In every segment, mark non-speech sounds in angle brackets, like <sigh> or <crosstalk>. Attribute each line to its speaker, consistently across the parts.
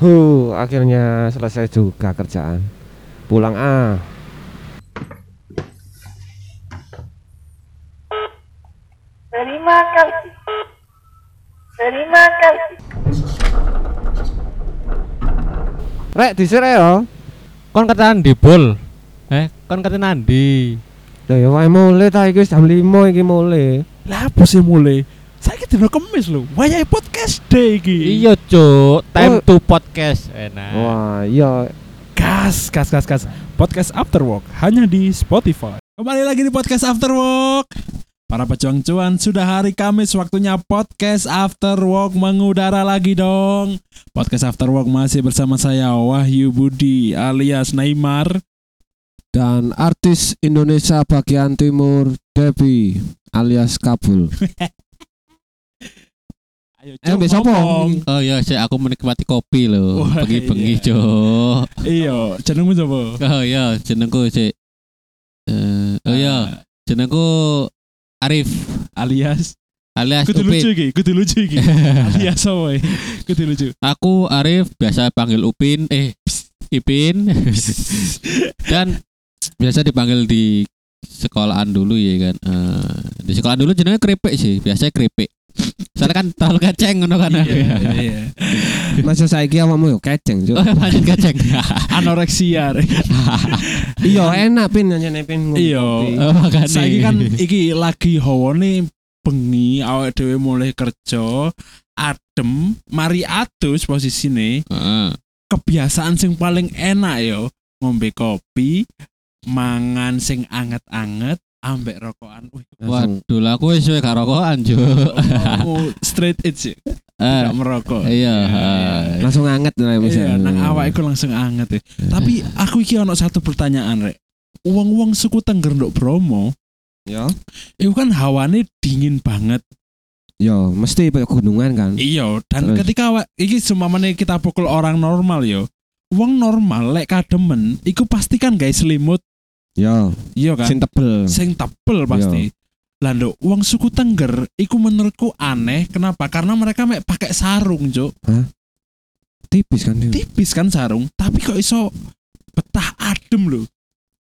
Speaker 1: Huh, akhirnya selesai juga kerjaan. Pulang ah.
Speaker 2: Terima kasih. Terima kasih.
Speaker 1: Rek ya? dhisik yo.
Speaker 3: Kon katakan di bol. Eh, kon kata nandi.
Speaker 1: Lah ya wae mule ta iki wis jam 5 iki mule.
Speaker 4: Lah apa sih mulai? Saya dino kemis lho. Wayahe podcast deh iki.
Speaker 3: Iya, Cuk.
Speaker 1: Oh.
Speaker 3: Time to podcast. Eh, Enak.
Speaker 1: Wah, iya.
Speaker 4: Gas, gas, gas, gas. Podcast After Work hanya di Spotify. Kembali lagi di podcast After Work. Para pejuang cuan, sudah hari Kamis waktunya podcast After Work mengudara lagi dong. Podcast After Work masih bersama saya Wahyu Budi alias Neymar.
Speaker 5: dan artis Indonesia bagian timur Debi alias Kabul.
Speaker 4: <laughs> Ayo,
Speaker 5: Eh,
Speaker 4: Cuk,
Speaker 5: besok apa?
Speaker 4: ngomong.
Speaker 3: Oh iya, saya aku menikmati kopi loh.
Speaker 4: Wah, iya.
Speaker 3: Bengi-bengi, Cuk.
Speaker 4: Iya, jenengmu sapa?
Speaker 3: Oh iya, jenengku sik. Eh, oh
Speaker 4: Ah.
Speaker 3: iya, jenengku Arif
Speaker 4: alias
Speaker 3: alias
Speaker 4: kudu
Speaker 3: Upit.
Speaker 4: lucu iki, kudu lucu iki. alias apa? ya? Kudu lucu.
Speaker 3: Aku Arif biasa panggil Upin, eh
Speaker 4: <laughs>
Speaker 3: Ipin. Dan biasa dipanggil di sekolahan dulu ya kan. Eh, di sekolahan dulu jenenge keripik sih, biasanya keripik. Soalnya kan tahu kaceng ngono kan.
Speaker 4: Iya, iya.
Speaker 5: Masa saiki awakmu yo keceng, Cuk.
Speaker 3: <laughs> Oh,
Speaker 4: <laughs>
Speaker 3: pancen kaceng.
Speaker 4: Anoreksia. Rek.
Speaker 5: Iya, enak pin nyanyi pin.
Speaker 4: Iya.
Speaker 3: Oh, makanya.
Speaker 4: Saiki kan iki lagi hawane bengi awake dhewe mulai kerja adem mari atus posisine
Speaker 3: Heeh.
Speaker 4: kebiasaan sing paling enak yo ngombe kopi mangan sing anget-anget ambek rokokan <laughs> Wih,
Speaker 3: Waduh, lah aku wis gak rokokan, Cuk.
Speaker 4: kamu straight edge ya?
Speaker 3: Eh,
Speaker 4: Gak merokok
Speaker 3: Iya. eh.
Speaker 5: Langsung anget lah
Speaker 4: Iya,
Speaker 5: misalnya.
Speaker 4: nang awak iku langsung anget ya. Tapi aku iki ono satu pertanyaan rek. Uang-uang suku Tengger nduk Bromo,
Speaker 5: Yo.
Speaker 4: itu kan hawane dingin banget.
Speaker 5: Yo, Iya, mesti pada gunungan kan.
Speaker 4: Iya, dan
Speaker 5: Terus?
Speaker 4: ketika awak iki sumamane kita pukul orang normal yo. Wong normal lek kademen iku pasti kan guys selimut,
Speaker 5: Yo,
Speaker 4: iya kan?
Speaker 5: sing tebel.
Speaker 4: Sing tebel pasti. Lah nduk, wong suku Tengger iku menurutku aneh. Kenapa? Karena mereka mek pakai sarung, Cuk.
Speaker 5: Tipis kan. Cuk.
Speaker 4: Tipis kan sarung, tapi kok iso betah adem lho.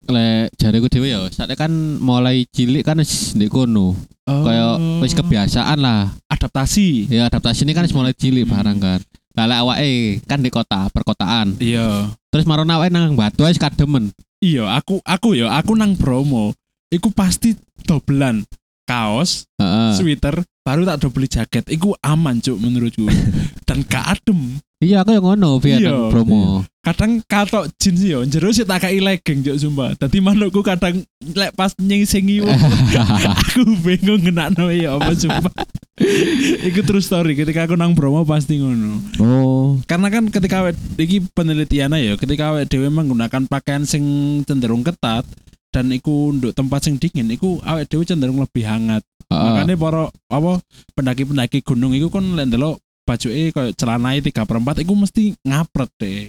Speaker 3: Lek jariku dhewe ya, saatnya kan mulai cilik kan wis ndek kono. Kayak
Speaker 4: Oh.
Speaker 3: wis kebiasaan lah.
Speaker 4: adaptasi.
Speaker 3: Ya adaptasi ini kan wis mulai cilik
Speaker 4: Hmm.
Speaker 3: barang kan. Lah lek awake kan di kota, perkotaan.
Speaker 4: Iya.
Speaker 3: Terus marono awake nang Batu wis kademen.
Speaker 4: Iya, aku aku yo, aku nang Bromo. Iku pasti dobelan kaos,
Speaker 3: Heeh.
Speaker 4: sweater baru tak do beli jaket iku aman cuk menurutku dan gak adem
Speaker 3: Iya aku yang ngono biar
Speaker 4: Iya.
Speaker 3: nang promo.
Speaker 4: kadang katok jeans yo jero sih tak kai legging cuk sumpah dadi manukku kadang lek pas nyengsengi wong, aku bingung ngenakno ya apa sumpah iku true story ketika aku nang Bromo pasti ngono
Speaker 5: Oh,
Speaker 4: karena kan ketika awet- iki penelitiannya ya ketika awet dhewe menggunakan pakaian sing cenderung ketat dan iku untuk tempat sing dingin iku awet dhewe cenderung lebih hangat
Speaker 3: Heeh.
Speaker 4: makanya para apa pendaki-pendaki gunung itu kan lek ndelok bajuke koyo celanae 3 per 4 iku mesti ngapret deh.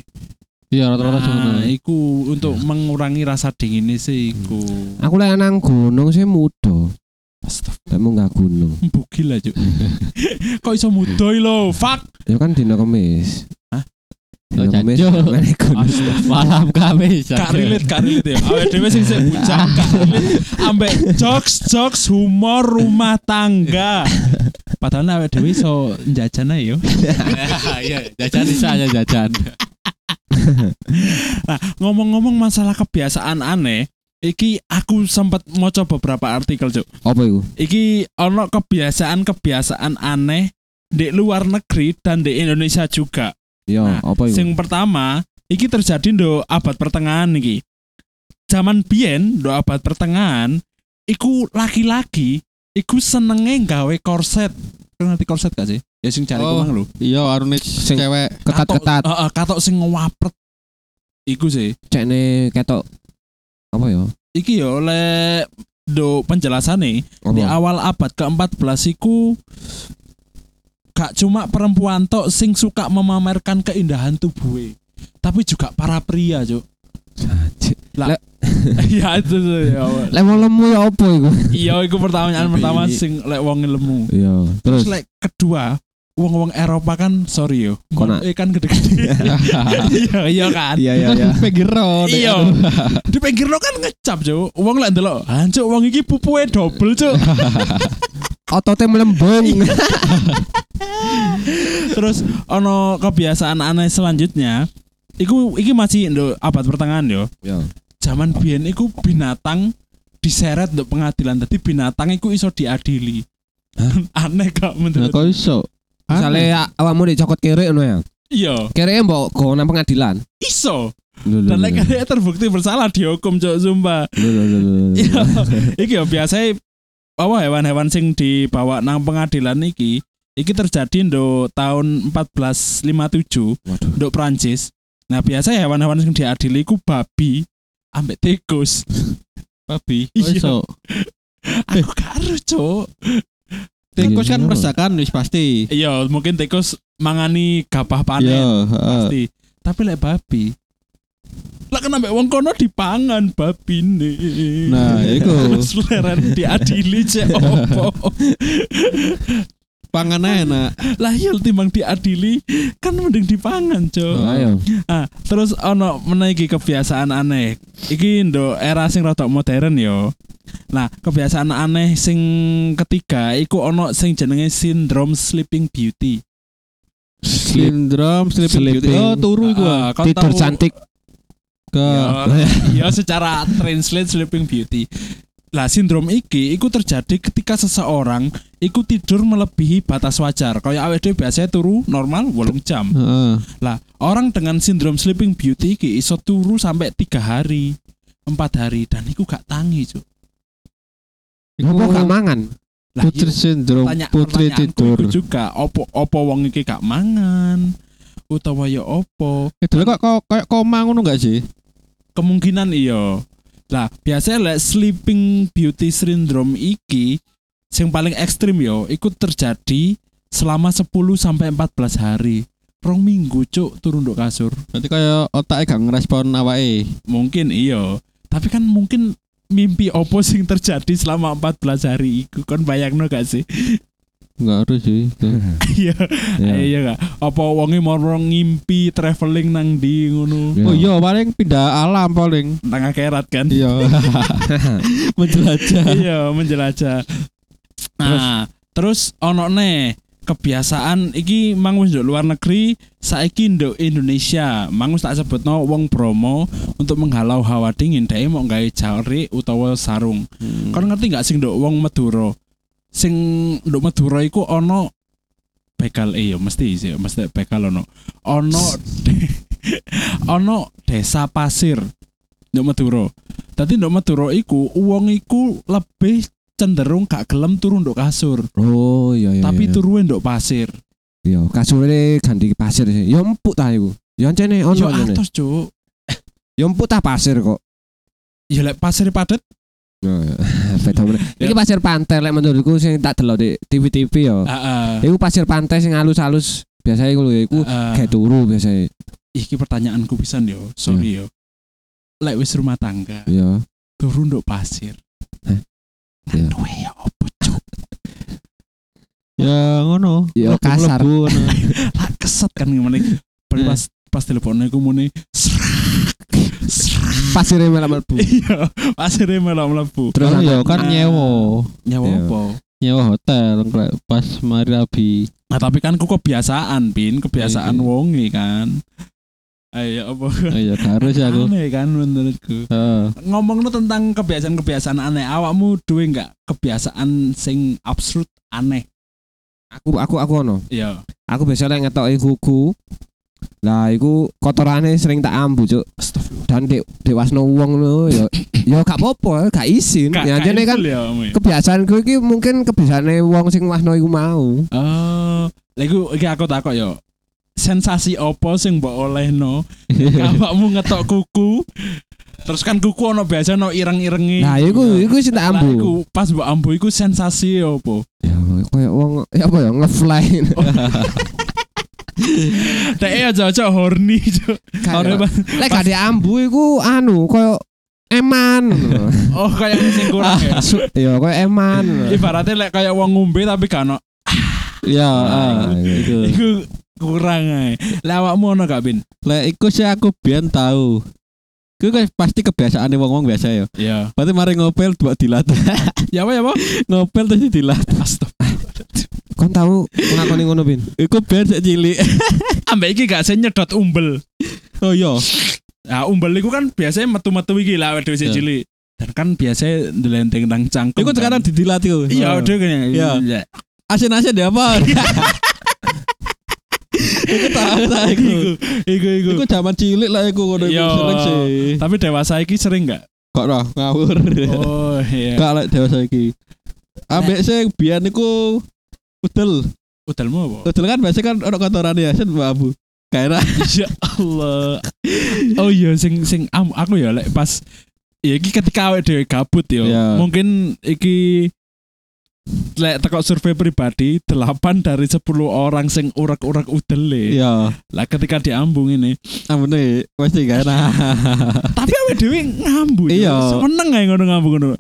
Speaker 3: Iya rata-rata sing ngono.
Speaker 4: Nah, iku untuk mengurangi rasa dingin sih iku.
Speaker 5: aku lek nang gunung sih muda. Tapi nggak gunung.
Speaker 4: Bugil aja. Kok iso mudoi lo? Fuck.
Speaker 5: Yo kan dina kemis.
Speaker 4: Hah?
Speaker 5: Dina
Speaker 3: Oh,
Speaker 5: kemis. <laughs> nang
Speaker 3: jancuk.
Speaker 5: ngene gunung.
Speaker 3: <laughs> Malam Kamis.
Speaker 4: Gak relate, gak relate ya. Awake dhewe sing sik bujang gak relate. Ambek jokes-jokes humor rumah tangga. Padahal awake dhewe iso njajan ae yo.
Speaker 3: Iya, jajan bisa aja jajan.
Speaker 4: Nah, ngomong-ngomong masalah kebiasaan aneh, iki aku sempat mau coba beberapa artikel, Cuk.
Speaker 5: Apa iku?
Speaker 4: Iki ono kebiasaan-kebiasaan aneh di luar negeri dan di Indonesia juga.
Speaker 5: Yo,
Speaker 4: Nah,
Speaker 5: apa
Speaker 3: Oh,
Speaker 5: ya? iku?
Speaker 4: Sing pertama, iki terjadi ndo abad pertengahan iki. Zaman biyen ndo abad pertengahan, iku laki-laki iku senenge gawe korset. Kau ngerti korset gak sih? Ya sing cari
Speaker 3: Oh,
Speaker 4: kumang lho.
Speaker 3: Iya warungnya
Speaker 5: Sing-
Speaker 3: cewek.
Speaker 5: Ketat-ketat.
Speaker 4: Katok- Heeh, katok sing ngewapret. Iku sih.
Speaker 5: Cekne ketok. Apa ya? yo?
Speaker 4: Iki yo oleh do penjelasan nih di
Speaker 5: Apa?
Speaker 4: awal abad ke-14 iku gak cuma perempuan tok sing suka memamerkan keindahan tubuhe tapi juga para pria cuk <laughs> lah ya itu tuh,
Speaker 5: <laughs>
Speaker 4: ya Allah.
Speaker 5: Lek mau lemu ya apa iku?
Speaker 4: iya itu pertanyaan pertama sing lek wong lemu
Speaker 5: Iya, terus
Speaker 4: terus lek kedua wong-wong Eropa kan sorry yo.
Speaker 5: Kona.
Speaker 4: Eh kan
Speaker 5: <laughs>
Speaker 4: gede-gede. Iya iya kan.
Speaker 5: Iya iya iya.
Speaker 3: Pegiro.
Speaker 4: Iya.
Speaker 3: <laughs>
Speaker 4: Di pinggir lo kan ngecap, Cuk. Wong lek ndelok, hancuk wong iki pupuke double, Cuk.
Speaker 5: Ototnya melembung.
Speaker 4: Terus ono kebiasaan aneh selanjutnya. Iku iki masih nduk abad pertengahan yo.
Speaker 5: Iya.
Speaker 4: Zaman biyen iku binatang diseret nduk pengadilan. Dadi binatang iku iso diadili. <laughs> aneh gak
Speaker 3: Nah,
Speaker 4: menurut?
Speaker 3: kok iso? ya?
Speaker 5: Misalnya <laughs> awakmu dicokot kere ngono ya.
Speaker 4: Iya,
Speaker 5: Kere mbok go nang pengadilan.
Speaker 4: iso. Dan lek kare terbukti bersalah dihukum, Cuk, sumpah. Iya,
Speaker 3: Hmm.
Speaker 4: <laughs> iki ya biasanya apa hewan-hewan sing dibawa nang pengadilan iki iki terjadi ndo tahun 1457
Speaker 5: Waduh.
Speaker 4: ndo Prancis. Nah, biasanya hewan-hewan sing diadili iku babi ambek tikus.
Speaker 3: Babi. Oh,
Speaker 4: Iya.
Speaker 3: Iso.
Speaker 4: Aku karo, Cuk.
Speaker 3: Tikus kan
Speaker 5: Iya.
Speaker 3: meresahkan wis pasti.
Speaker 4: Iya, mungkin tikus mangani gabah panen
Speaker 3: Iya, heeh.
Speaker 4: pasti. Tapi lek babi lah kan ambek wong kono dipangan babi nih.
Speaker 3: Nah, iku.
Speaker 4: <laughs> Terus leren diadili cek
Speaker 3: <laughs>
Speaker 4: opo.
Speaker 3: Pangan enak.
Speaker 4: lah ya timbang diadili kan mending dipangan
Speaker 3: Oh,
Speaker 4: cok
Speaker 3: iya.
Speaker 5: Ayo.
Speaker 4: ah, terus ono menaiki kebiasaan aneh iki ndo era sing rada modern yo nah kebiasaan aneh sing ketiga iku ono sing jenenge sindrom sleeping beauty
Speaker 3: Sindrom sleeping, beauty.
Speaker 5: Sleeping.
Speaker 3: Oh, turu iku.
Speaker 4: Ah, kau
Speaker 5: Tidur
Speaker 4: tahu-
Speaker 5: cantik.
Speaker 3: Ke
Speaker 4: Ya, ya secara translate sleeping beauty. Lah sindrom iki iku terjadi ketika seseorang iku tidur melebihi batas wajar. Kayak awet dhewe biasanya turu normal 8 jam.
Speaker 5: Iya.
Speaker 3: <laughs> Heeh.
Speaker 4: Lah, orang dengan sindrom sleeping beauty iki iso turu sampai tiga hari, empat hari dan iku gak tangi, Cuk.
Speaker 5: Apa gak mangan?
Speaker 4: Lah,
Speaker 3: Putri
Speaker 4: iya,
Speaker 3: sindrom,
Speaker 4: tanya-
Speaker 3: putri
Speaker 4: pertanyaanku
Speaker 3: tidur.
Speaker 4: iku juga opo opo wong iki gak mangan utawa ya opo?
Speaker 3: Eh, dulu kok kok kayak koma ngono gak sih?
Speaker 4: Kemungkinan iya. Lah, biasanya lek sleeping beauty syndrome iki sing paling ekstrim yo iku terjadi selama 10 sampai 14 hari. Rong minggu, Cuk, turun nduk kasur.
Speaker 3: Berarti kayak otaknya gak ngerespon awake.
Speaker 4: mungkin iyo tapi kan mungkin mimpi opo sing terjadi selama 14 hari iku kon bayangno gak sih <laughs>
Speaker 3: Enggak harus sih. Itu.
Speaker 4: iya
Speaker 5: Iya.
Speaker 4: iya gak apa wonge moro ngimpi traveling nang di ngono
Speaker 3: Oh iya, paling pindah alam paling.
Speaker 4: nang akhirat kan
Speaker 3: Iya. Menjelajah.
Speaker 4: iya menjelajah nah terus, ono ne kebiasaan iki mangus nduk luar negeri saiki nduk Indonesia mangus tak sebutno wong Bromo untuk menghalau hawa dingin dhek mau gawe jari utawa sarung Kon ngerti nggak sing nduk wong Madura? Sing nduk Madura iku ono bekal eh ya mesti sih, mesti bekal ono. Ono de- <laughs> ono desa pasir nduk Madura. Dadi nduk Madura iku wong iku lebih cenderung gak gelem turun nduk kasur,
Speaker 5: <laughs> Oh iya iya.
Speaker 4: tapi
Speaker 5: iya.
Speaker 4: turun nduk pasir.
Speaker 5: Iya, kasurnya ganti pasir sih. Ya empuk ta iku. Ya encene ono
Speaker 4: Yo
Speaker 5: encene.
Speaker 4: atos, Cuk.
Speaker 5: Ya empuk ta pasir kok.
Speaker 4: Ya lek pasir padet
Speaker 5: Ya, ya. <laughs> Beda meneh. Iki pasir pantai lek menurutku sing tak delok di TV-TV ya.
Speaker 4: heeh.
Speaker 5: Iku pasir pantai sing halus-halus. Biasanya iku lho ya, iku
Speaker 4: heeh.
Speaker 5: kayak turu biasanya.
Speaker 4: Iki pertanyaanku pisan yo, sorry yo. Lek wis rumah tangga,
Speaker 5: Iya.
Speaker 4: turun nduk pasir.
Speaker 5: Hah? Iya.
Speaker 4: Aduh, ya opo cuk.
Speaker 3: Ya ngono.
Speaker 5: Ya,
Speaker 3: Mlebu-mlebu
Speaker 5: kasar.
Speaker 3: ngono.
Speaker 4: Lah keset kan ngene. Pas pas, pas teleponnya aku muni srak, srak.
Speaker 5: Pasirnya malah mlebu.
Speaker 4: Iya, pasirnya malah mlebu.
Speaker 5: Terus
Speaker 3: Kan
Speaker 5: apa?
Speaker 3: ya kan
Speaker 4: Ah.
Speaker 3: nyewa.
Speaker 4: Nyawa
Speaker 5: Iya.
Speaker 4: opo?
Speaker 3: Nyewa hotel kayak pas mari rabi.
Speaker 4: <laughs> Nah, tapi kan ku kebiasaan, Pin, kebiasaan
Speaker 3: Iya, iya.
Speaker 4: wonge kan. Ayo opo?
Speaker 3: Oh, Ya gak harus ya aku.
Speaker 4: Aneh kan menurutku.
Speaker 3: Heeh.
Speaker 4: Ngomong tentang kebiasaan-kebiasaan aneh, awakmu duwe nggak kebiasaan sing absurd aneh?
Speaker 5: Aku aku aku ono.
Speaker 4: Iya.
Speaker 5: Aku biasanya lek ngetoki kuku. Lah iku kotorane sering tak ambu, Cuk. Dan dek dewasno wong lho ya. Ya gak apa-apa, gak izin.
Speaker 4: Gak-
Speaker 5: Ya
Speaker 4: gak
Speaker 5: encene kan
Speaker 4: infil ya, Om, ya?
Speaker 5: kebiasaan gue iki mungkin kebiasaane wong sing wasno iku mau
Speaker 4: Oh, lha iku iki aku takok yo. Sensasi opo sing mbok
Speaker 5: <laughs>
Speaker 4: olehno? Awakmu ngetok kuku. Terus kan kuku ono biasa ono ireng-irengi.
Speaker 5: nah iku
Speaker 4: Iya.
Speaker 5: iku sing tak
Speaker 4: Lah, iku
Speaker 5: ambu
Speaker 4: pas mbok ambu iku sensasi opo?
Speaker 5: ya koyo wong ya apa ya ngefly
Speaker 4: <laughs> Teke aja aja horny. Cuk. Horny
Speaker 5: Kayak-
Speaker 4: banget.
Speaker 5: lek gak diambu iku anu koyo
Speaker 4: <laughs>
Speaker 5: eman
Speaker 3: <laughs> Ah,
Speaker 4: Oh, <laughs> kayak sing kurang ya.
Speaker 5: ya koyo eman
Speaker 4: Ibaratnya lek kayak wong ngombe tapi gak ono
Speaker 3: Ya, ah,
Speaker 5: Nah,
Speaker 3: gitu.
Speaker 4: Iku kurang ae. Lah awakmu ono gak Bin?
Speaker 3: Lah iku sih aku biyen tahu. Iku kan pasti kebiasaane wong-wong biasa ya.
Speaker 4: Ya.
Speaker 3: Berarti mari ngopel buat dilatih.
Speaker 4: <laughs> Ya apa ya apa?
Speaker 3: ngopel terus dilatih.
Speaker 5: Kon tahu ngelakoni ngono bin?
Speaker 3: Iku biyen sik cilik. <laughs>
Speaker 4: Ambek iki gak sen nyedot umbel.
Speaker 3: Oh iya.
Speaker 4: Nah, umbel iku kan biasanya metu-metu iki lah awake dhewe sing
Speaker 3: Ya.
Speaker 4: cilik. Dan kan biasanya ndelenteng nang cangkem.
Speaker 3: Iku sekarang
Speaker 4: kan.
Speaker 3: didilatih. kok.
Speaker 4: Iya, udah kayaknya.
Speaker 3: Iya.
Speaker 4: Iya.
Speaker 3: Asin-asin
Speaker 4: <laughs>
Speaker 3: dia apa? Iku tahu tahu iku.
Speaker 4: Iku, iku, iku.
Speaker 3: Iku zaman cilik lah iku ngono
Speaker 4: Hmm.
Speaker 3: iku
Speaker 4: Iya.
Speaker 3: sering sih.
Speaker 4: Tapi dewasa iki sering gak?
Speaker 3: Kok roh ngawur.
Speaker 4: Oh, iya.
Speaker 3: Kok lek dewasa iki. Ambek sing biyen iku udel.
Speaker 4: Udelmu apa?
Speaker 3: Udel kan biasa kan ono kotoran ya, sen Mbak Abu. Kayak
Speaker 4: Ya Allah. Oh iya sing sing am, aku ya lek pas ya iki ketika awake dhewe gabut ya.
Speaker 3: Ya.
Speaker 4: Mungkin iki lek teko survei pribadi 8 dari 10 orang sing urak-urak udele.
Speaker 3: iya.
Speaker 4: Lah ketika diambung ini.
Speaker 3: Ambune mesti gak enak.
Speaker 4: Tapi awake dhewe ngambu.
Speaker 3: Iya.
Speaker 4: ya. Seneng ae ngono ngambu ngono.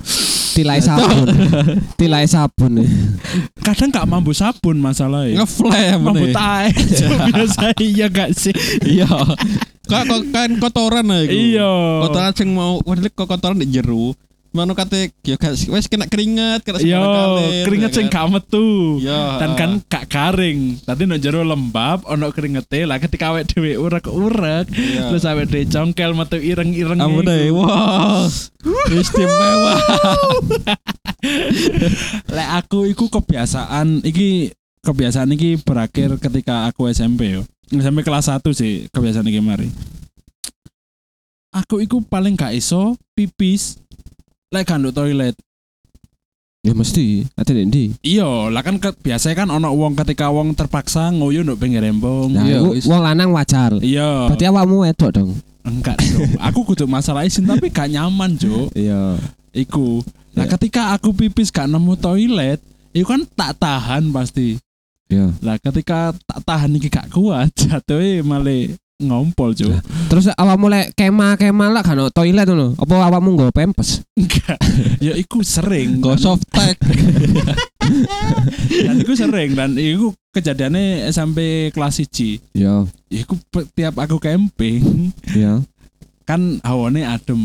Speaker 5: Tilai sabun. Tilai sabun ya.
Speaker 4: Kadang gak mambu sabun masalahnya.
Speaker 3: Ngeflare
Speaker 4: Mambu
Speaker 3: ambune.
Speaker 4: tae. <laughs> Biasa iya gak sih?
Speaker 3: Iya. Kok kok kan kotoran lah iku.
Speaker 4: Iya.
Speaker 3: Kotoran sing mau waduh kok kotoran di jero. Mano kate yo gak wis kena keringet, kena
Speaker 4: Yo,
Speaker 3: sekali-kali,
Speaker 4: Iya, keringet
Speaker 3: ya
Speaker 4: sing
Speaker 3: kan?
Speaker 4: gak metu.
Speaker 3: Iya.
Speaker 4: dan kan gak garing tadi no jero lembab ono keringete lah ketika awet dhewe urek-urek
Speaker 3: Iya.
Speaker 4: terus awet dhewe congkel metu ireng-ireng
Speaker 3: Ambune
Speaker 5: eh,
Speaker 4: iku.
Speaker 3: wah. Istimewa.
Speaker 4: lek aku iku kebiasaan iki kebiasaan iki berakhir ketika aku SMP yo SMP kelas 1 sih kebiasaan iki mari aku iku paling gak iso pipis lek ganduk toilet
Speaker 5: Ya mesti. Ate ndi?
Speaker 4: Iya, lah kan ke- biasanya kan ono wong ketika wong terpaksa nguyu nduk pinggir rembong.
Speaker 5: Nah,
Speaker 3: Iya,
Speaker 5: iku
Speaker 3: wis.
Speaker 5: wong lanang wajar.
Speaker 4: Iya.
Speaker 5: Berarti awakmu wedok dong.
Speaker 4: Enggak dong. <laughs> aku kudu masalah izin tapi gak nyaman, Cuk.
Speaker 5: Iya.
Speaker 4: Iku. Nah,
Speaker 5: Ya.
Speaker 4: ketika aku pipis gak nemu toilet, itu kan tak tahan pasti.
Speaker 5: Iya.
Speaker 4: Lah ketika tak tahan iki gak kuat, <laughs> jatuhnya malah ngompol, Cuk.
Speaker 5: Terus awakmu lek kema-kema lah kan toilet ngono. Apa awakmu nggo pempes?
Speaker 4: Enggak. ya iku sering.
Speaker 3: Go soft tag.
Speaker 4: Dan iku sering dan iku kejadiannya sampai kelas 1.
Speaker 5: Iya.
Speaker 4: Iku pe- tiap aku camping
Speaker 5: Iya.
Speaker 4: kan hawane adem.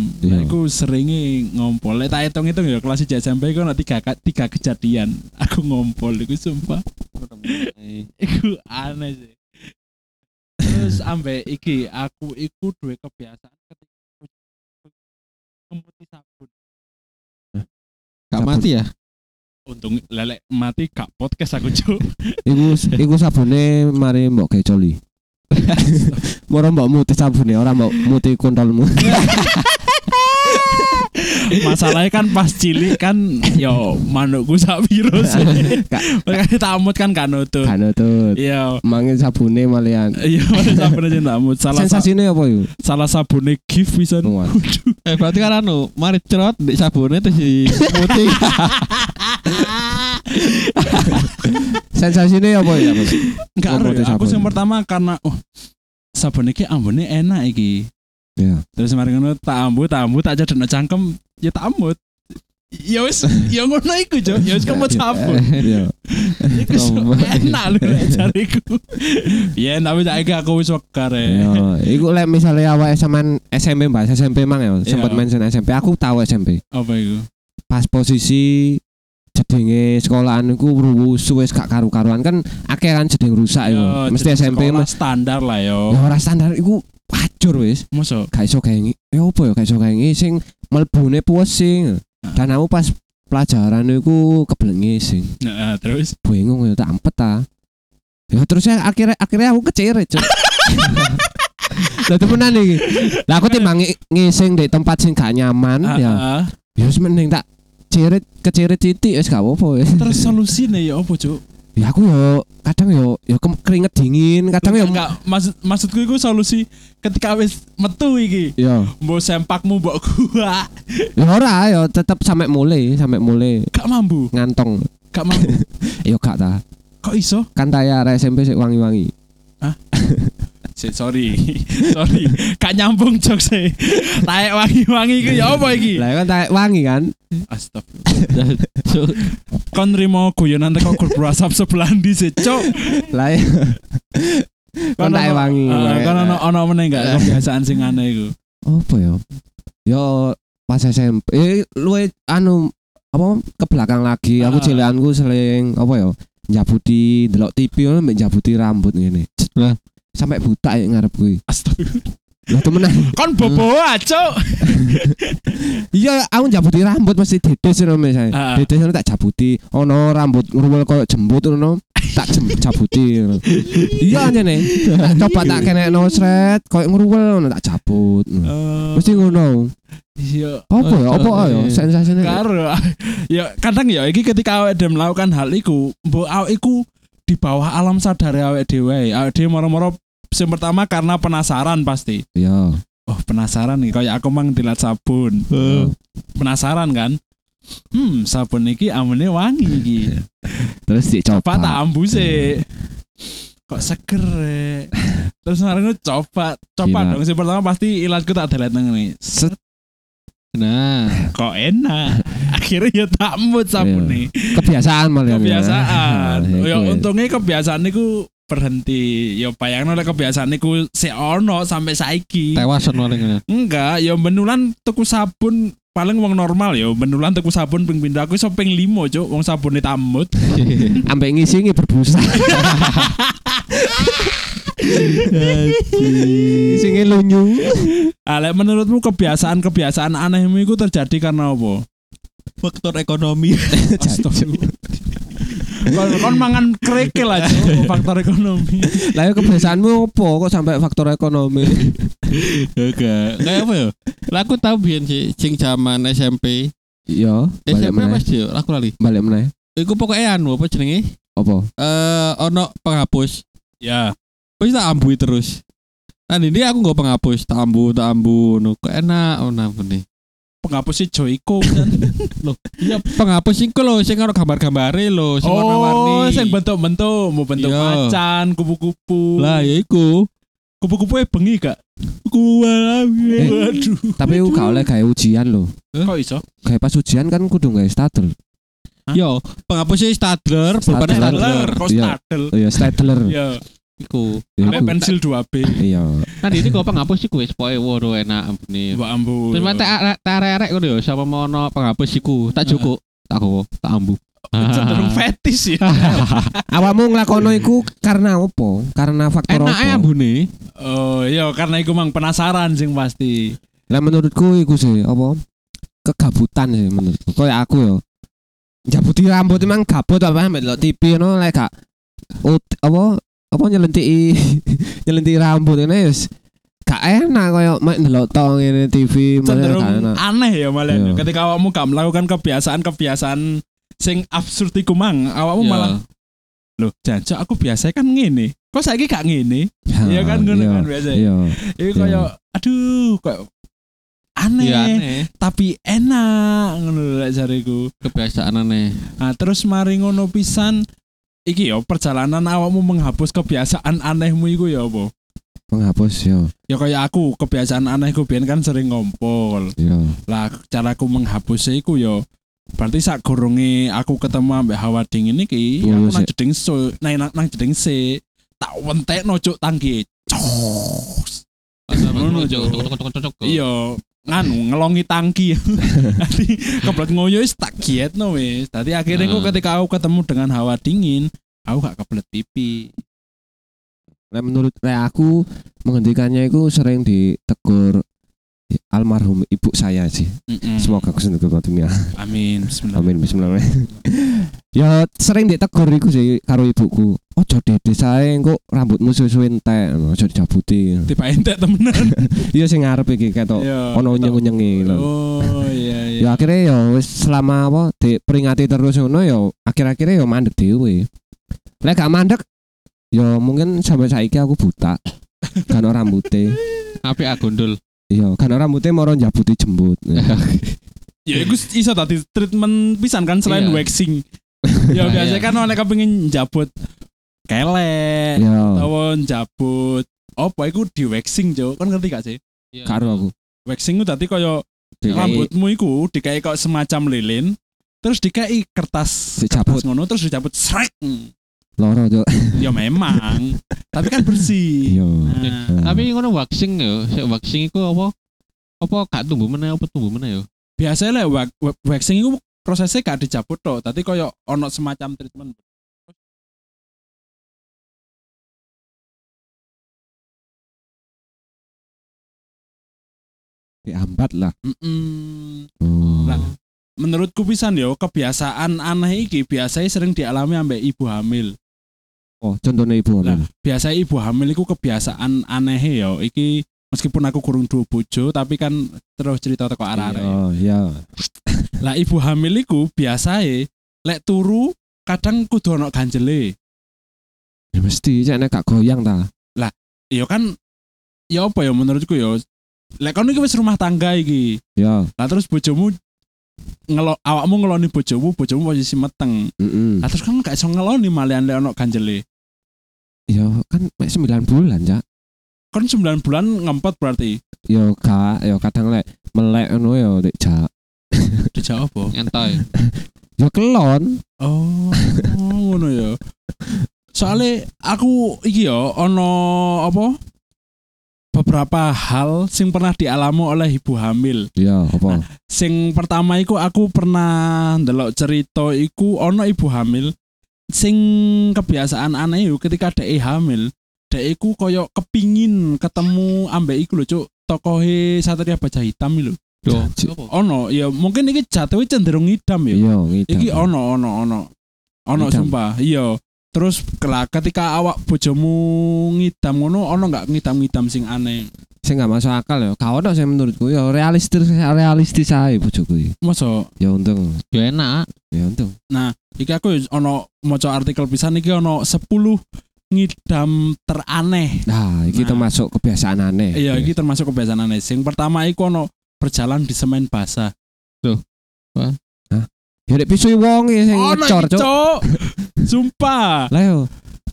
Speaker 5: Iya.
Speaker 4: Nah, iku seringi ngompol. Lek tak hitung-hitung ya kelas 1 SMP iku ana tiga, ka- tiga kejadian <laughs> aku ngompol iku sumpah. Iku aneh sih. Terus ambek iki aku iku duwe kebiasaan ketika aku ngemuti sabun.
Speaker 3: Gak mati ya?
Speaker 4: Untung lelek mati gak podcast aku cuk.
Speaker 5: Iku iku sabune mari mbok gawe <laughs> coli. Moro mbok muti sabune ora mbok muti <laughs> kontolmu.
Speaker 4: Masalahnya kan pas cilik kan yo manukku sak virus. Makanya tak amut kan gak nutut.
Speaker 5: Kan tuh.
Speaker 4: Iya.
Speaker 5: Mangin sabune malian.
Speaker 4: Iya, <laughs> mana sabun aja tak amut. Salah sa-
Speaker 5: Sensasinya apa yuk?
Speaker 4: salah sabune gift pisan.
Speaker 5: Wah.
Speaker 4: Waduh.
Speaker 3: Eh berarti kan anu, mari cerot di sabunnya terus di
Speaker 5: <laughs>
Speaker 3: putih.
Speaker 5: Sensasinya apa ya?
Speaker 4: Enggak
Speaker 5: Ngomong
Speaker 4: ero,
Speaker 5: teh
Speaker 4: aku
Speaker 5: sabun.
Speaker 4: yang pertama karena oh sabun iki ambune enak iki.
Speaker 5: Iya.
Speaker 4: Terus mari ngono tak ambu, tak ambu, tak cedekno cangkem, ya tak ambut. Ya wis, ya ngono iku, Cok. Ya wis kemot sabun.
Speaker 5: Iya.
Speaker 4: Iku so- enak lho lek jariku. Ya tapi saiki aku wis wekar ya.
Speaker 5: Iya. Iku lek misalnya awak SMA SMP mbak SMP mang ya. Sempat
Speaker 4: Iya.
Speaker 5: mention SMP. Aku tahu SMP.
Speaker 4: Apa iku?
Speaker 5: Pas posisi jedenge sekolahan iku rusuh wis gak karu-karuan kan akeh kan jeding rusak iku.
Speaker 4: Ya,
Speaker 5: Mesti
Speaker 4: jadi
Speaker 5: SMP
Speaker 4: sekolah
Speaker 5: mas.
Speaker 4: standar lah yo.
Speaker 5: Ya ora standar iku pacur wis.
Speaker 4: Mosok
Speaker 5: Gak iso gawe ngi- ya apa ya gak iso gawe ngi- sing mlebune pusing. Dan aku pas pelajaran iku kebelengi sing.
Speaker 4: Nah, terus
Speaker 5: bingung ya tak ampet ta ya terusnya akhirnya akhirnya aku keceret cok <laughs> lah temenan iki lah aku timbang ngi- ngising di tempat sing gak nyaman
Speaker 4: Ah,
Speaker 5: ya
Speaker 4: ah.
Speaker 5: ya wis mending tak ceret keceret titik wis gak apa-apa wis.
Speaker 4: terus solusine ya apa, Cok?
Speaker 5: ya aku yo kadang yo yo kem- keringet dingin kadang yo
Speaker 4: enggak maksud maksudku itu solusi ketika wis metu iki
Speaker 5: yo
Speaker 4: mbok sempakmu mbok gua
Speaker 5: yo ora yo tetep sampe mulai sampe mulai
Speaker 4: gak mambu
Speaker 5: ngantong
Speaker 4: gak mambu
Speaker 5: yo gak ta
Speaker 4: kok iso
Speaker 5: kan taya arek SMP sik wangi-wangi
Speaker 4: Sik, <laughs> sorry sorry gak nyambung jok sih taek wangi-wangi iku ya apa iki
Speaker 5: lah kan taya wangi kan
Speaker 4: Astagfirullah.
Speaker 3: Cuk,
Speaker 4: <laughs> Kon rimo guyonan teko grup WhatsApp sebelah ndi sih, <laughs> Cuk?
Speaker 5: Lah ya. Kon tak
Speaker 4: ono-
Speaker 5: ewangi.
Speaker 4: Eh, Kon ono ono meneh enggak kebiasaan sing aneh iku?
Speaker 5: Apa ya? Yo pas SMP, eh luwe anu apa ke belakang lagi. Aku
Speaker 4: Ah.
Speaker 5: cilianku sering apa ya? Njabuti delok TV ngono mbek njabuti rambut ngene. Cet,
Speaker 3: Lah.
Speaker 5: Sampai buta ya ngarep kuwi.
Speaker 4: Astagfirullah.
Speaker 5: Lah
Speaker 4: <laughs>
Speaker 5: temenan.
Speaker 4: Kon bobo Cuk.
Speaker 5: Iya, aku njabuti rambut mesti dedes ngono misalnya.
Speaker 4: Ah.
Speaker 5: Dedes ngono tak jabuti. Ono rambut ngruwel koyo jembut ngono. Tak jem,
Speaker 4: <laughs>
Speaker 5: jabuti. ngono. Iya nyene. Tak Coba tak kenekno sret koyo ngruwel ngono tak jabut. ngono.
Speaker 4: Oh.
Speaker 5: Mesti ngono.
Speaker 4: Eh. Iya.
Speaker 5: Apa ya?
Speaker 3: Oh,
Speaker 5: Apa ya?
Speaker 3: iya.
Speaker 5: Sensasinya.
Speaker 4: Karo. <laughs> Ya kadang ya iki ketika awake dhewe melakukan hal iku, mbok awake iku di bawah alam sadar awake dhewe. Awake dhewe moro-moro sing pertama karena penasaran pasti.
Speaker 5: Iya.
Speaker 4: Oh, penasaran nih kayak aku mang dilat sabun.
Speaker 5: Iya.
Speaker 4: Penasaran kan? Hmm, sabun iki amene wangi iki.
Speaker 5: Terus dicoba.
Speaker 4: Pak tak ambu sih. Kok seger. Rek. Terus kemarin coba, coba
Speaker 5: Gila.
Speaker 4: dong. Si pertama pasti ilatku tak delete nang ini. Set,
Speaker 3: Nah,
Speaker 4: kok
Speaker 5: <laughs>
Speaker 4: enak. Akhirnya ya tak mood sabun
Speaker 5: Iya.
Speaker 4: nih.
Speaker 5: Kebiasaan malah. <laughs>
Speaker 4: kebiasaan.
Speaker 5: Nah,
Speaker 4: ya
Speaker 5: iya, iya.
Speaker 4: untungnya kebiasaan niku berhenti. Ya bayangno oleh kebiasaan niku si ono sampai saiki.
Speaker 3: tewas ono ning ngene.
Speaker 4: Enggak, ya benulan tuku sabun paling wong normal ya benulan tuku sabun ping pindho aku iso ping 5 cuk wong sabune tamut
Speaker 5: Ambek ngisingi <laughs> berbusa. Singe lunyu.
Speaker 4: Ale Ah, menurutmu kebiasaan-kebiasaan anehmu itu terjadi karena apa?
Speaker 3: Faktor <laughs> ekonomi.
Speaker 4: Astagfirullah. kon, kon mangan kerikil <laughs> aja oh, faktor ekonomi.
Speaker 5: Lah ya kebiasaanmu opo kok sampai faktor ekonomi?
Speaker 3: Enggak, enggak apa ya? Lah aku tau biyen sih sing zaman SMP.
Speaker 5: Iya, balik
Speaker 3: SMP apa
Speaker 5: meneh.
Speaker 3: sih? Aku lali.
Speaker 5: Balik meneh.
Speaker 3: Iku pokoknya anu apa jenenge?
Speaker 5: Opo?
Speaker 3: Eh ono penghapus.
Speaker 4: ya,
Speaker 3: Wis tak ambui terus. Nah, ini aku nggak penghapus, tak ambu, tak ambu, no, kok enak, oh, nah, bener.
Speaker 4: penghapusnya <laughs> Joyko.
Speaker 3: Iya, penghapus sing ku lho, sing ono gambar-gambare lho, sing warna-warni.
Speaker 4: oh, sing bentuk-bentuk, mau bentuk
Speaker 3: Iya.
Speaker 4: macan, kupu-kupu.
Speaker 3: Lah, ya iku.
Speaker 4: kupu-kupu e bengi gak?
Speaker 5: Eh.
Speaker 4: Waduh.
Speaker 5: Tapi aku gak oleh gawe ujian lho.
Speaker 4: Kok iso?
Speaker 5: Gawe pas ujian kan kudu gawe statel.
Speaker 4: Hah?
Speaker 3: Yo, penghapusnya Stadler,
Speaker 4: Nah,
Speaker 3: bukan
Speaker 5: Stadler.
Speaker 3: Stadler.
Speaker 4: Kok
Speaker 5: Iya.
Speaker 4: stadel.
Speaker 5: Oh iya, stateler.
Speaker 4: Ya,
Speaker 3: Iku.
Speaker 5: Ya,
Speaker 4: ambek
Speaker 5: iku.
Speaker 4: pensil 2B.
Speaker 5: Iya.
Speaker 3: Nah, ini kok penghapus iku wis poe waduh enak ampune.
Speaker 4: Mbak Ambu.
Speaker 3: Terus mate arek-arek ngono yo sama mono penghapus iku, tak cukup, tak gowo, tak ambu.
Speaker 4: Cenderung fetis ya.
Speaker 5: Awakmu nglakono iku karena opo? Karena faktor
Speaker 3: Enak ya
Speaker 5: opo?
Speaker 3: ambune.
Speaker 4: Oh, iya karena iku mang penasaran sing pasti.
Speaker 5: Lah menurutku iku sih apa? Kegabutan sih menurutku. Kayak aku yo. Jabuti rambut emang gabut apa ambek lo TV no lek gak ut- apa apa nyelentiki <laughs> nyelentiki rambut ini wis gak enak koyo mek ndelok tong ngene TV malah
Speaker 4: Cenderung
Speaker 5: gak enak.
Speaker 4: aneh ya malah.
Speaker 5: Iya.
Speaker 4: Ketika awakmu gak melakukan kebiasaan-kebiasaan sing absurd iku mang, awakmu Oh,
Speaker 3: Iya.
Speaker 4: malah loh, jancuk aku biasa kan ngene. Kok saiki gak ngene? <laughs> Iya kan ngono
Speaker 5: Iya,
Speaker 4: kan biasa.
Speaker 5: Iya.
Speaker 4: Iku
Speaker 5: Iya.
Speaker 4: koyo aduh, kok
Speaker 3: Iya
Speaker 4: aneh,
Speaker 3: aneh.
Speaker 4: tapi enak ngono lek jariku.
Speaker 3: Kebiasaan aneh.
Speaker 4: Nah, terus mari ngono pisan iki yo perjalanan awakmu menghapus kebiasaan anehmu iku ya apa?
Speaker 5: Menghapus yo.
Speaker 4: Ya kayak aku, kebiasaan anehku biyen kan sering ngompol.
Speaker 5: Iya.
Speaker 4: Lah caraku menghapusnya iku yo berarti sak gurunge aku ketemu ambek hawa dingin iki,
Speaker 5: Iya,
Speaker 4: aku
Speaker 5: sik.
Speaker 4: nang jeding so, nang nang, nang jeding se tak wentekno cuk tangki. Cus. Ngono, Cuk. Iya, nganu ngelongi
Speaker 5: <laughs>
Speaker 4: tangki. Tadi kebelet ngoyo wis tak gietno wis. Tadi akhirnya aku
Speaker 3: Nah.
Speaker 4: ketika aku ketemu dengan hawa dingin, aku gak kebelet pipi.
Speaker 5: Lah menurut lek aku menghentikannya itu sering ditegur almarhum ibu saya sih.
Speaker 4: Mm-mm.
Speaker 5: Semoga kesentuh dunia.
Speaker 4: Amin. Bismillah.
Speaker 5: Amin bismillahirrahmanirrahim. <laughs> ya sering ditegur iku sih karo ibuku. Ojo dede sae engko rambutmu suwe-suwe entek, ojo dijabuti.
Speaker 4: Tiba entek
Speaker 5: <laughs>
Speaker 4: temenan.
Speaker 5: Iya sing ngarep iki ketok
Speaker 4: Iya.
Speaker 5: ono unyeng-unyengi lho.
Speaker 4: Oh iya iya.
Speaker 5: Ya akhirnya ya wis selama apa diperingati terus ngono ya akhir-akhirnya ya mandek dhewe. Lek gak mandek ya mungkin sampai saiki aku buta. Kan ora rambute.
Speaker 3: Apik agondol.
Speaker 5: Iya, kan ora rambute moro njabuti jembut.
Speaker 4: <laughs> Ya iku iso tadi treatment pisan kan selain
Speaker 3: Hmm. Iya. <laughs>
Speaker 4: waxing. Ya
Speaker 3: Nah,
Speaker 4: biasanya
Speaker 3: iya.
Speaker 4: kan oleh kepengin njabut
Speaker 3: Hmm.
Speaker 4: kelek
Speaker 5: Iya,
Speaker 4: utawa njabut apa iku di waxing, Cuk. Kan ngerti gak sih?
Speaker 5: karo aku.
Speaker 4: Waxing ku tadi koyo
Speaker 3: Iya.
Speaker 5: Dikai-
Speaker 4: rambutmu iku dikai kok semacam lilin terus dikai kertas
Speaker 5: Dicabut.
Speaker 4: kertas ngono terus dicabut srek
Speaker 5: loro cuk.
Speaker 4: ya
Speaker 3: <laughs>
Speaker 4: memang tapi kan bersih
Speaker 5: Iya.
Speaker 4: Nah,
Speaker 3: Tapi ngono waxing yo, sik waxing iku apa? Apa gak tumbuh meneh apa tumbuh meneh yo?
Speaker 4: biasanya lah wa- wa- waxing itu prosesnya gak dicabut toh tapi koyo ono semacam treatment
Speaker 5: Diambat lah.
Speaker 4: Mm-mm.
Speaker 5: Oh.
Speaker 4: Lah, menurutku pisan yo kebiasaan aneh iki biasanya sering dialami ambek ibu hamil
Speaker 5: Oh, contohnya ibu
Speaker 4: Lah.
Speaker 5: hamil.
Speaker 4: biasanya ibu hamil itu kebiasaan aneh yo iki meskipun aku kurung dua bojo tapi kan terus cerita teko arah-arah ya.
Speaker 5: Oh, iya.
Speaker 4: lah ibu hamil iku biasanya lek turu kadang kudu ono ganjele
Speaker 5: Ya mesti cek nek gak goyang ta.
Speaker 4: yo kan ya apa ya menurutku yo lek kon iki wis rumah tangga iki
Speaker 5: Ya.
Speaker 4: Lah terus bojomu ngelo awakmu ngeloni bojomu, bojomu posisi meteng.
Speaker 5: Heeh.
Speaker 4: Lah terus kan gak iso ngeloni malian lek ono ganjele.
Speaker 5: Ya kan mek 9 bulan, Cak.
Speaker 4: Kon 9 Kan bulan ngempet berarti.
Speaker 5: Ya gak, ya kadang lek melek ngono ya lek jak.
Speaker 4: Dijawab apa?
Speaker 3: Entoy.
Speaker 5: Ya kelon.
Speaker 4: Oh, <laughs> ngono ya. Soale aku iki ya ono apa? Beberapa hal sing pernah dialami oleh ibu hamil.
Speaker 5: Ya, apa?
Speaker 4: Sing pertama iku aku pernah ndelok cerita iku ono ibu hamil sing kebiasaan aneh yo ketika dhek e hamil dhek iku koyo kepingin ketemu ambek iku lho cuk tokohe Satria Baja Hitam iki lho
Speaker 3: Duh,
Speaker 5: Jajuk.
Speaker 3: apa?
Speaker 4: ono ya mungkin iki jatuhe cenderung ngidam ya
Speaker 5: Iya, ngidam.
Speaker 4: iki ono ono ono ono
Speaker 5: Ngidam.
Speaker 4: sumpah iya terus kelak ketika awak bojomu ngidam ngono ono nggak ngidam-ngidam sing aneh
Speaker 5: sing gak masuk akal ya. Gak ono sih menurutku ya realistis realistis ae bojoku iki.
Speaker 4: masa
Speaker 5: Ya untung,
Speaker 3: Yo enak.
Speaker 5: ya untung.
Speaker 4: iki aku ya ono maca artikel pisan iki ono 10 ngidam teraneh
Speaker 5: Nah, iki
Speaker 4: Nah.
Speaker 5: termasuk kebiasaan aneh.
Speaker 4: iya iki termasuk kebiasaan aneh sing pertama iku ono berjalan di semen basah
Speaker 5: Ya nek pisui wong ya sing
Speaker 4: Ono
Speaker 5: ngecor,
Speaker 4: iki,
Speaker 5: Cuk.
Speaker 4: Cuk. sumpah
Speaker 5: Lah yo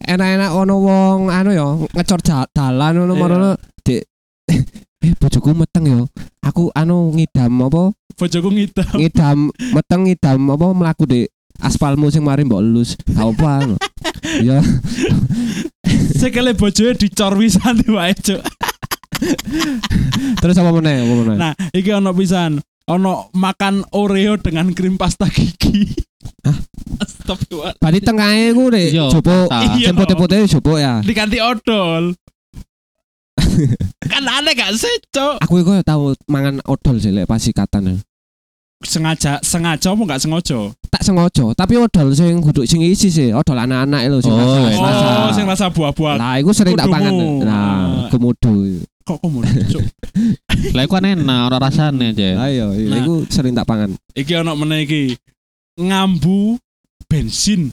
Speaker 5: enak-enak ono wong anu yo ngecor ja- dalan ono
Speaker 4: Iya.
Speaker 5: marono dik <laughs> eh bojoku meteng yo. Aku anu ngidam apa?
Speaker 4: bojoku ngidam <laughs>
Speaker 5: Ngidam meteng ngidam apa mlaku dik aspalmu sing mari mbok elus. Gak apa anu. Ya
Speaker 4: sekele bojoe dicor wisan wae cuk
Speaker 5: terus apa meneh? Apa meneh?
Speaker 4: nah iki ono pisan ono makan oreo dengan krim pasta gigi Astagfirullah.
Speaker 5: Berarti tengahe ku nek
Speaker 3: Iya,
Speaker 5: jopo
Speaker 3: Ah,
Speaker 4: Iya.
Speaker 5: jemput-jemputnya jopo ya.
Speaker 4: diganti odol kan aneh gak sih cuk
Speaker 5: Aku iku tau mangan odol sih lek pas ikatan.
Speaker 4: sengaja sengaja apa gak sengaja
Speaker 5: Tak sengaja, tapi odol sing kudu sing isi sih, odol anak-anak lho sing
Speaker 3: Oh,
Speaker 5: rasa-
Speaker 3: enak.
Speaker 5: rasa.
Speaker 4: Oh, sing rasa buah-buah.
Speaker 5: Lah iku sering tak
Speaker 4: Kudumu.
Speaker 5: pangan. Nah,
Speaker 4: Ah.
Speaker 5: kemudu.
Speaker 4: Kok komo cuk.
Speaker 3: Lah iku kan enak ora rasane aja.
Speaker 5: Lah iya, iya,
Speaker 4: Nah.
Speaker 5: iku sering tak pangan.
Speaker 4: Iki ono meneh iki. Ngambu bensin.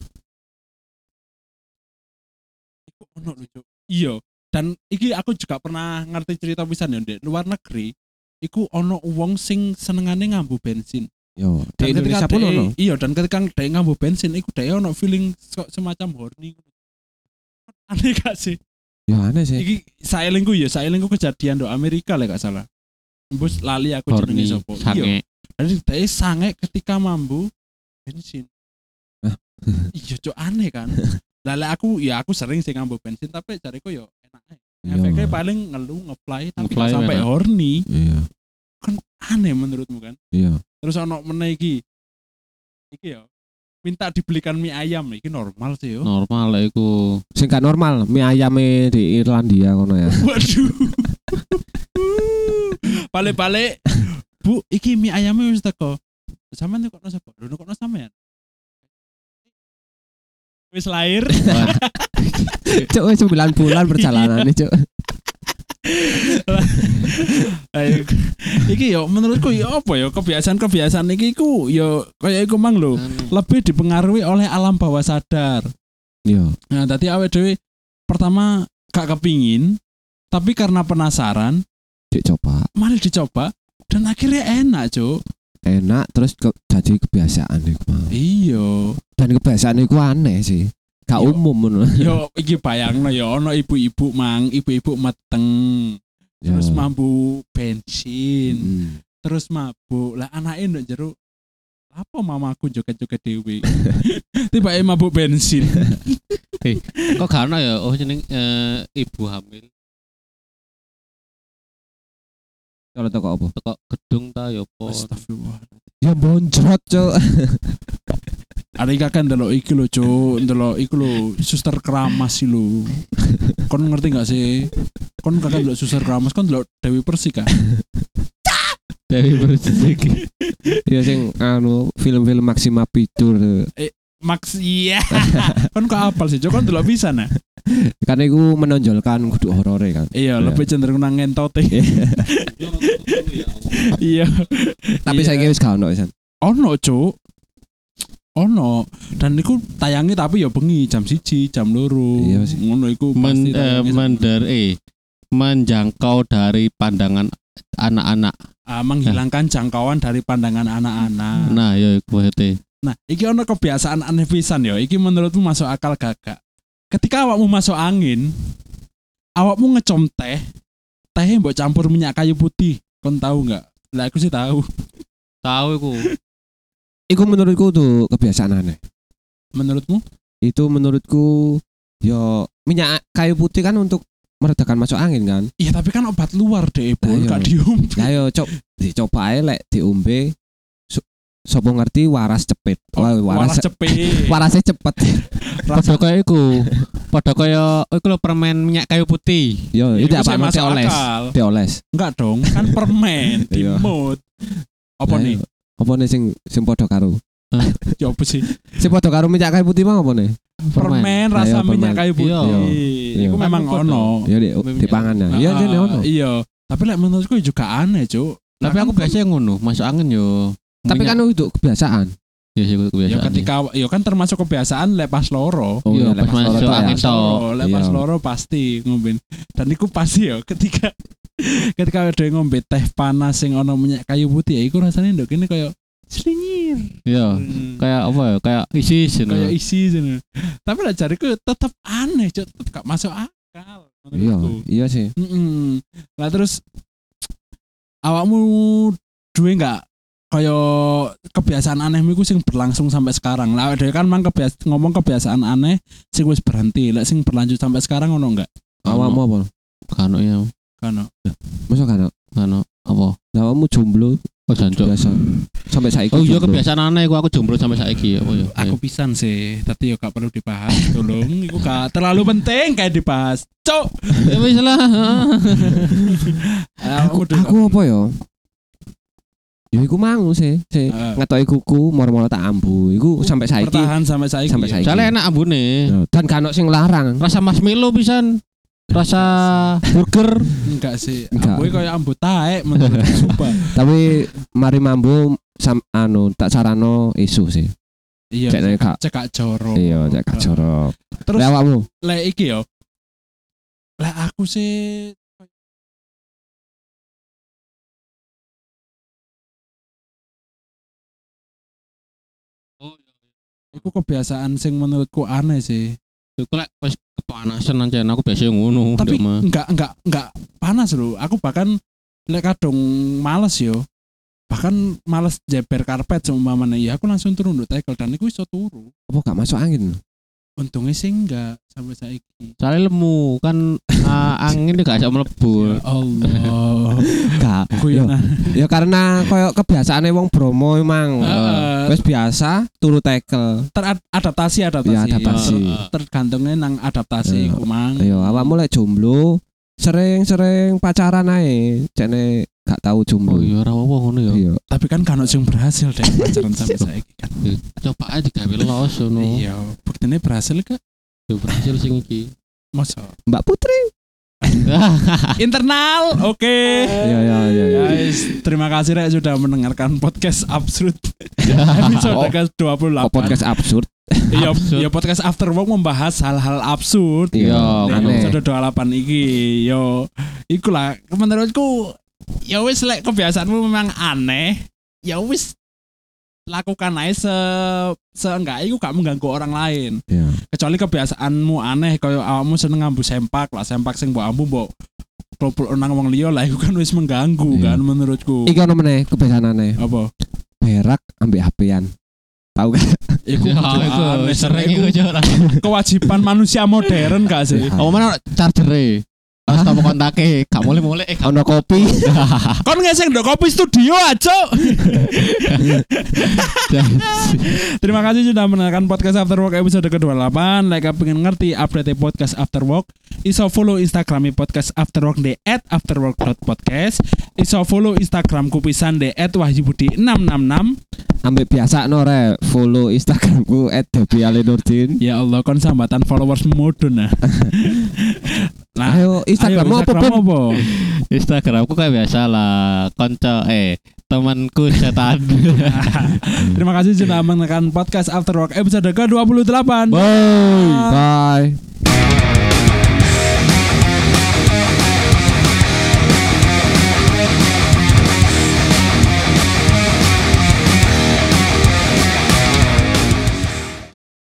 Speaker 4: Iku ono lho, Cuk. Iya, dan iki aku juga pernah ngerti cerita pisan ya, Ndek. Luar negeri iku ono wong sing senengane ngambu bensin.
Speaker 5: Yo, di
Speaker 4: Dan
Speaker 5: Indonesia
Speaker 4: ketika
Speaker 5: pun
Speaker 4: dhek-
Speaker 5: ono.
Speaker 4: Iya, dan ketika dhek ngambu bensin iku dhek ono feeling kok semacam horny. Aneh gak sih?
Speaker 5: Yo aneh sih.
Speaker 4: iki saelingku ya saelingku kejadian do Amerika lah gak salah Mbus lali aku jenenge
Speaker 3: Horny,
Speaker 4: sapa iya
Speaker 3: sange.
Speaker 4: jadi dhek sange ketika mambu bensin
Speaker 5: Hah?
Speaker 4: <laughs> iya cok
Speaker 5: <laughs>
Speaker 4: aneh kan lale aku ya aku sering sih ngambu bensin tapi jariku yo enak ae
Speaker 5: Iya.
Speaker 4: efeknya paling ngeluh ngeplay tapi
Speaker 3: Ngeplay
Speaker 4: nggak sampai
Speaker 3: enak.
Speaker 4: horny
Speaker 5: Iya,
Speaker 4: kan aneh menurutmu kan
Speaker 5: iya.
Speaker 4: terus ono meneh iki iki yo minta dibelikan mie ayam iki normal sih yo
Speaker 3: Normal lah iku.
Speaker 5: Sing gak normal, mie ayame di Irlandia kono
Speaker 4: <laughs>
Speaker 5: ya.
Speaker 4: <laughs> Waduh. Balik-balik. Bu, iki mie ayamnya wis teko. Sampeyan nek kono sapa? Lho kono sampeyan. Wis lahir. <laughs>
Speaker 5: Cuk, wis 9 bulan perjalanan Cuk.
Speaker 4: Ayo. iki yo menurutku yo apa yo kebiasaan-kebiasaan iki ku yo kaya iku mang lho. Lebih dipengaruhi oleh alam bawah sadar.
Speaker 5: Yo.
Speaker 4: Nah, tadi awet dhewe pertama gak kepingin tapi karena penasaran
Speaker 5: Cek coba.
Speaker 4: mari dicoba dan akhirnya enak cuk
Speaker 5: Enak terus ke, jadi kebiasaan iku. Bang.
Speaker 4: iya
Speaker 5: Dan kebiasaan iku aneh sih. Gak
Speaker 4: Yo.
Speaker 5: umum ngono.
Speaker 4: yo iki bayangno ya ono ibu-ibu mang ibu-ibu meteng terus
Speaker 5: Yo.
Speaker 4: mampu bensin
Speaker 5: Mm.
Speaker 4: terus mabuk lah anaknya ndok jeruk apa mamaku joget-joget dewi tiba mabuk bensin
Speaker 3: Kok gak ono ya? Oh jeneng eh, ibu hamil
Speaker 5: Kalau toko apa?
Speaker 3: teko gedung ta ya apa?
Speaker 4: Astagfirullah
Speaker 5: Ya boncrot, Cuk.
Speaker 4: Arika kan delok iki lho cuk, delok iku lho suster keramas iki lho. Kon ngerti gak sih? Kon kakak delok suster keramas kon delok Dewi Persik kan.
Speaker 5: Dari Persik. Ya sing anu film-film Maxima Picture. tuh.
Speaker 4: Max iya. <laughs> kon kok apal sih cuk, kon delok bisa nah.
Speaker 5: Kan iku menonjolkan kudu horore kan.
Speaker 4: Iya,
Speaker 5: Iya.
Speaker 4: lebih cenderung nang ngentote. <laughs> Iya.
Speaker 5: Tapi
Speaker 4: Iya.
Speaker 5: saya wis gak ono Isan.
Speaker 4: Ono cuk. Ono dan iku tayangi tapi ya bengi jam siji, jam loro.
Speaker 5: Iya sih.
Speaker 4: Ngono iku
Speaker 3: Men,
Speaker 4: pasti
Speaker 3: eh,
Speaker 4: tayangnya jam-
Speaker 3: mender, eh, menjangkau dari pandangan anak-anak.
Speaker 4: Ah, menghilangkan jangkauan dari pandangan anak-anak.
Speaker 3: Nah, ya iku maksudnya.
Speaker 4: Nah, iki ono kebiasaan aneh pisan yo. Iki menurutmu masuk akal gagak. Ketika awakmu masuk angin, awakmu ngecom teh, tehnya mbok campur minyak kayu putih. Kon tahu nggak? Lah aku sih tahu.
Speaker 3: Tahu iku.
Speaker 5: Iku menurutku tuh kebiasaan aneh.
Speaker 4: Menurutmu?
Speaker 5: Itu menurutku yo minyak kayu putih kan untuk meredakan masuk angin
Speaker 4: <laughs>
Speaker 5: kan.
Speaker 4: Iya, tapi kan obat luar deh, Bu.
Speaker 5: Ayo.
Speaker 4: Gak dium.
Speaker 5: Lah yo cok dicoba ae lek diombe so- sapa ngerti waras cepet. Wah,
Speaker 4: Oh, Waras
Speaker 5: waras
Speaker 4: cepet.
Speaker 5: warasnya cepet. <laughs>
Speaker 3: Padha kaya iku. Padha kaya oh, iku lho permen minyak kayu putih.
Speaker 5: Yo itu apa
Speaker 4: Iku sih
Speaker 5: mesti
Speaker 4: masuk
Speaker 5: oles.
Speaker 4: akal.
Speaker 5: Dioles.
Speaker 4: Enggak dong, kan permen
Speaker 5: Iya.
Speaker 4: dimut.
Speaker 5: Lah,
Speaker 4: Apa nih?
Speaker 5: Ya, yo. Apa nih sing sing padha karo?
Speaker 4: Ya apa sih?
Speaker 5: Sing padha karo minyak kayu putih mah apa nih?
Speaker 4: Permen
Speaker 5: Lah, iya,
Speaker 4: rasa minyak
Speaker 5: permen.
Speaker 4: kayu
Speaker 3: Iya.
Speaker 4: putih. Iku
Speaker 5: Iya.
Speaker 4: memang
Speaker 3: Aku
Speaker 4: ono.
Speaker 5: Yo di di pangan ya. Iya
Speaker 4: Ah,
Speaker 5: jane ono.
Speaker 4: Iya, tapi lek menurutku juga aneh, Cuk.
Speaker 3: Tapi
Speaker 4: Lah,
Speaker 3: aku
Speaker 4: kan-
Speaker 3: biasanya ngono, masuk angin yo.
Speaker 5: Tapi kan
Speaker 3: minyak-
Speaker 5: itu kebiasaan.
Speaker 3: ya sih
Speaker 4: Ya
Speaker 3: iku kebiasaan.
Speaker 4: ketika ya kan termasuk kebiasaan lek pas loro.
Speaker 5: Oh,
Speaker 3: Iya,
Speaker 5: iya, lepas
Speaker 3: pas
Speaker 5: loro
Speaker 3: masuk
Speaker 5: tuh ya.
Speaker 3: angin
Speaker 4: Pas loro, lek pas
Speaker 5: Iya.
Speaker 4: loro pasti ngombe. Dan iku pasti ya ketika <laughs> ketika ada yang ngombe teh panas sing ono minyak kayu putih ya iku rasanya ndok kene koyo slinyir. Hmm.
Speaker 3: Iya. Oh, Kayak apa ya? Kayak isis ngono.
Speaker 4: Kayak isi sini. Tapi lek jariku tetep aneh, Cuk, tetep gak masuk akal.
Speaker 5: Iya,
Speaker 4: menurutku.
Speaker 5: iya sih.
Speaker 4: Mm-mm. Lah terus awakmu duwe nggak kaya kebiasaan aneh iku sing berlangsung sampai sekarang. Lah dhewe kan mang kebias ngomong kebiasaan aneh sing wis berhenti. Lah sing berlanjut sampai sekarang ono enggak?
Speaker 5: Awakmu apa?
Speaker 3: kano ya,
Speaker 4: Ono.
Speaker 5: Masa kan?
Speaker 3: kano apa?
Speaker 5: Awakmu jomblo
Speaker 3: Oh, jancuk.
Speaker 5: biasa. Sampai saiki.
Speaker 3: Oh iya
Speaker 5: jomblo.
Speaker 3: kebiasaan aneh aku aku jomblo sampai saiki apa ya. Oh,
Speaker 5: Iya.
Speaker 4: Aku pisan sih, tapi yo gak perlu dibahas, tolong. Iku gak terlalu penting kayak dibahas. Cok.
Speaker 3: Ya wis lah.
Speaker 5: Aku, aku apa ya? Ya iku mangu sih, sih.
Speaker 4: Heeh.
Speaker 5: Ngetoki kuku moro-moro tak ambu. Iku sampai Eh, saiki.
Speaker 4: bertahan sampai saiki.
Speaker 5: Sampai saiki.
Speaker 3: Soalnya enak ambune.
Speaker 5: Ya, Dan kan sing larang.
Speaker 3: Rasa marshmallow pisan. Rasa burger.
Speaker 4: Enggak sih.
Speaker 5: Enggak.
Speaker 4: Ambu koyo ambu taek menurut
Speaker 5: <laughs>
Speaker 4: sumpah.
Speaker 5: Tapi mari mambu sam, anu tak sarano isu sih.
Speaker 4: Iya.
Speaker 5: Cek nek gak.
Speaker 4: Cek gak jorok.
Speaker 5: Iya, cek gak jorok.
Speaker 4: Terus
Speaker 5: Lah awakmu
Speaker 4: lek iki yo. Lek aku sih iku kebiasaan sing menurutku aneh sih.
Speaker 3: Iku lek pas kepanasan aja Nah, aku biasanya ngono.
Speaker 4: Tapi
Speaker 3: ndek mah.
Speaker 4: enggak enggak enggak panas lho. Aku bahkan lek kadung males yo. Bahkan males jeber karpet seumpamane ya aku langsung turun nduk tekel dan iku iso turu.
Speaker 5: apa gak masuk angin?
Speaker 4: Untungnya sih enggak sampai saiki.
Speaker 3: Soalnya lemu kan <laughs> ah, angin gak bisa mlebu.
Speaker 4: Ya Allah. nah.
Speaker 5: Gak. Yo,
Speaker 4: Kuyonan.
Speaker 5: ya karena koyo kebiasaane wong Bromo emang.
Speaker 4: Heeh.
Speaker 5: Wis biasa turu tekel.
Speaker 4: Teradaptasi adaptasi. eh,
Speaker 5: Ya adaptasi.
Speaker 3: Heeh.
Speaker 4: tergantungnya nang adaptasi
Speaker 5: Iya.
Speaker 4: iku mang.
Speaker 5: Ayo awakmu lek jomblo sering-sering pacaran ae, cene gak tau
Speaker 3: Oh
Speaker 5: jomblo.
Speaker 3: iya ora apa ngono ya.
Speaker 5: Iya.
Speaker 4: Tapi kan kan sing
Speaker 5: <laughs>
Speaker 4: berhasil deh pacaran sampai saiki kan.
Speaker 3: Coba aja digawe los ngono.
Speaker 4: Iya, buktinya berhasil ke
Speaker 3: Yo berhasil sing <laughs> iki.
Speaker 4: masa
Speaker 5: Mbak Putri.
Speaker 4: Ah. internal. Oke.
Speaker 5: Iya iya iya. iya.
Speaker 4: Guys, terima kasih Rek sudah mendengarkan podcast Absurd <laughs> episode
Speaker 5: Oh,
Speaker 4: ke-28.
Speaker 5: Kok podcast absurd?
Speaker 4: Iya,
Speaker 3: Absurd.
Speaker 4: iya, podcast After Work membahas hal-hal absurd.
Speaker 3: Iya,
Speaker 4: Nek
Speaker 5: aneh.
Speaker 4: episode 28 iki yo iku lah menurutku ya wis lek kebiasaanmu memang aneh ya wis lakukan aja se seenggak iku gak mengganggu orang lain
Speaker 5: Iya.
Speaker 4: kecuali kebiasaanmu aneh kaya awakmu seneng ngambu sempak lah sempak sing mbok ambu mbok klopok nang wong liya lah iku kan wis mengganggu
Speaker 3: Iya.
Speaker 4: kan menurutku.
Speaker 5: Iki ono meneh kebiasaanane.
Speaker 3: <laughs>
Speaker 4: Apa?
Speaker 5: Berak ambek HP-an. Tahu kan?
Speaker 4: Iku
Speaker 3: Ya,
Speaker 4: kudu
Speaker 3: iku
Speaker 4: aneh,
Speaker 3: sering
Speaker 4: iku
Speaker 3: iku ora.
Speaker 4: kewajiban manusia modern gak sih?
Speaker 3: Oh, mana charger-e? Pas topo kontake, <laughs> gak mulai-mulai eh, gak-
Speaker 5: Ono kopi.
Speaker 3: <laughs>
Speaker 4: Kon ngeseng ndok kopi studio <laughs> aja. Terima kasih sudah mendengarkan podcast After Work episode ke-28. Like pengen ngerti update podcast After Work, iso follow Instagram podcast After Work di @afterwork.podcast. Iso follow Instagramku pisan di @wahyubudi666.
Speaker 5: ambek biasa no re follow instagramku @debialenurdin
Speaker 4: Ya Allah, kon sambatan followers <laughs> mudun nah. Nah,
Speaker 5: ayo instagram mau apa pun
Speaker 4: Instagram apa?
Speaker 3: Instagramku kayak biasa lah, konco eh temanku <laughs> setan.
Speaker 4: Terima kasih sudah mendengarkan podcast After Work episode ke-28.
Speaker 5: Bye.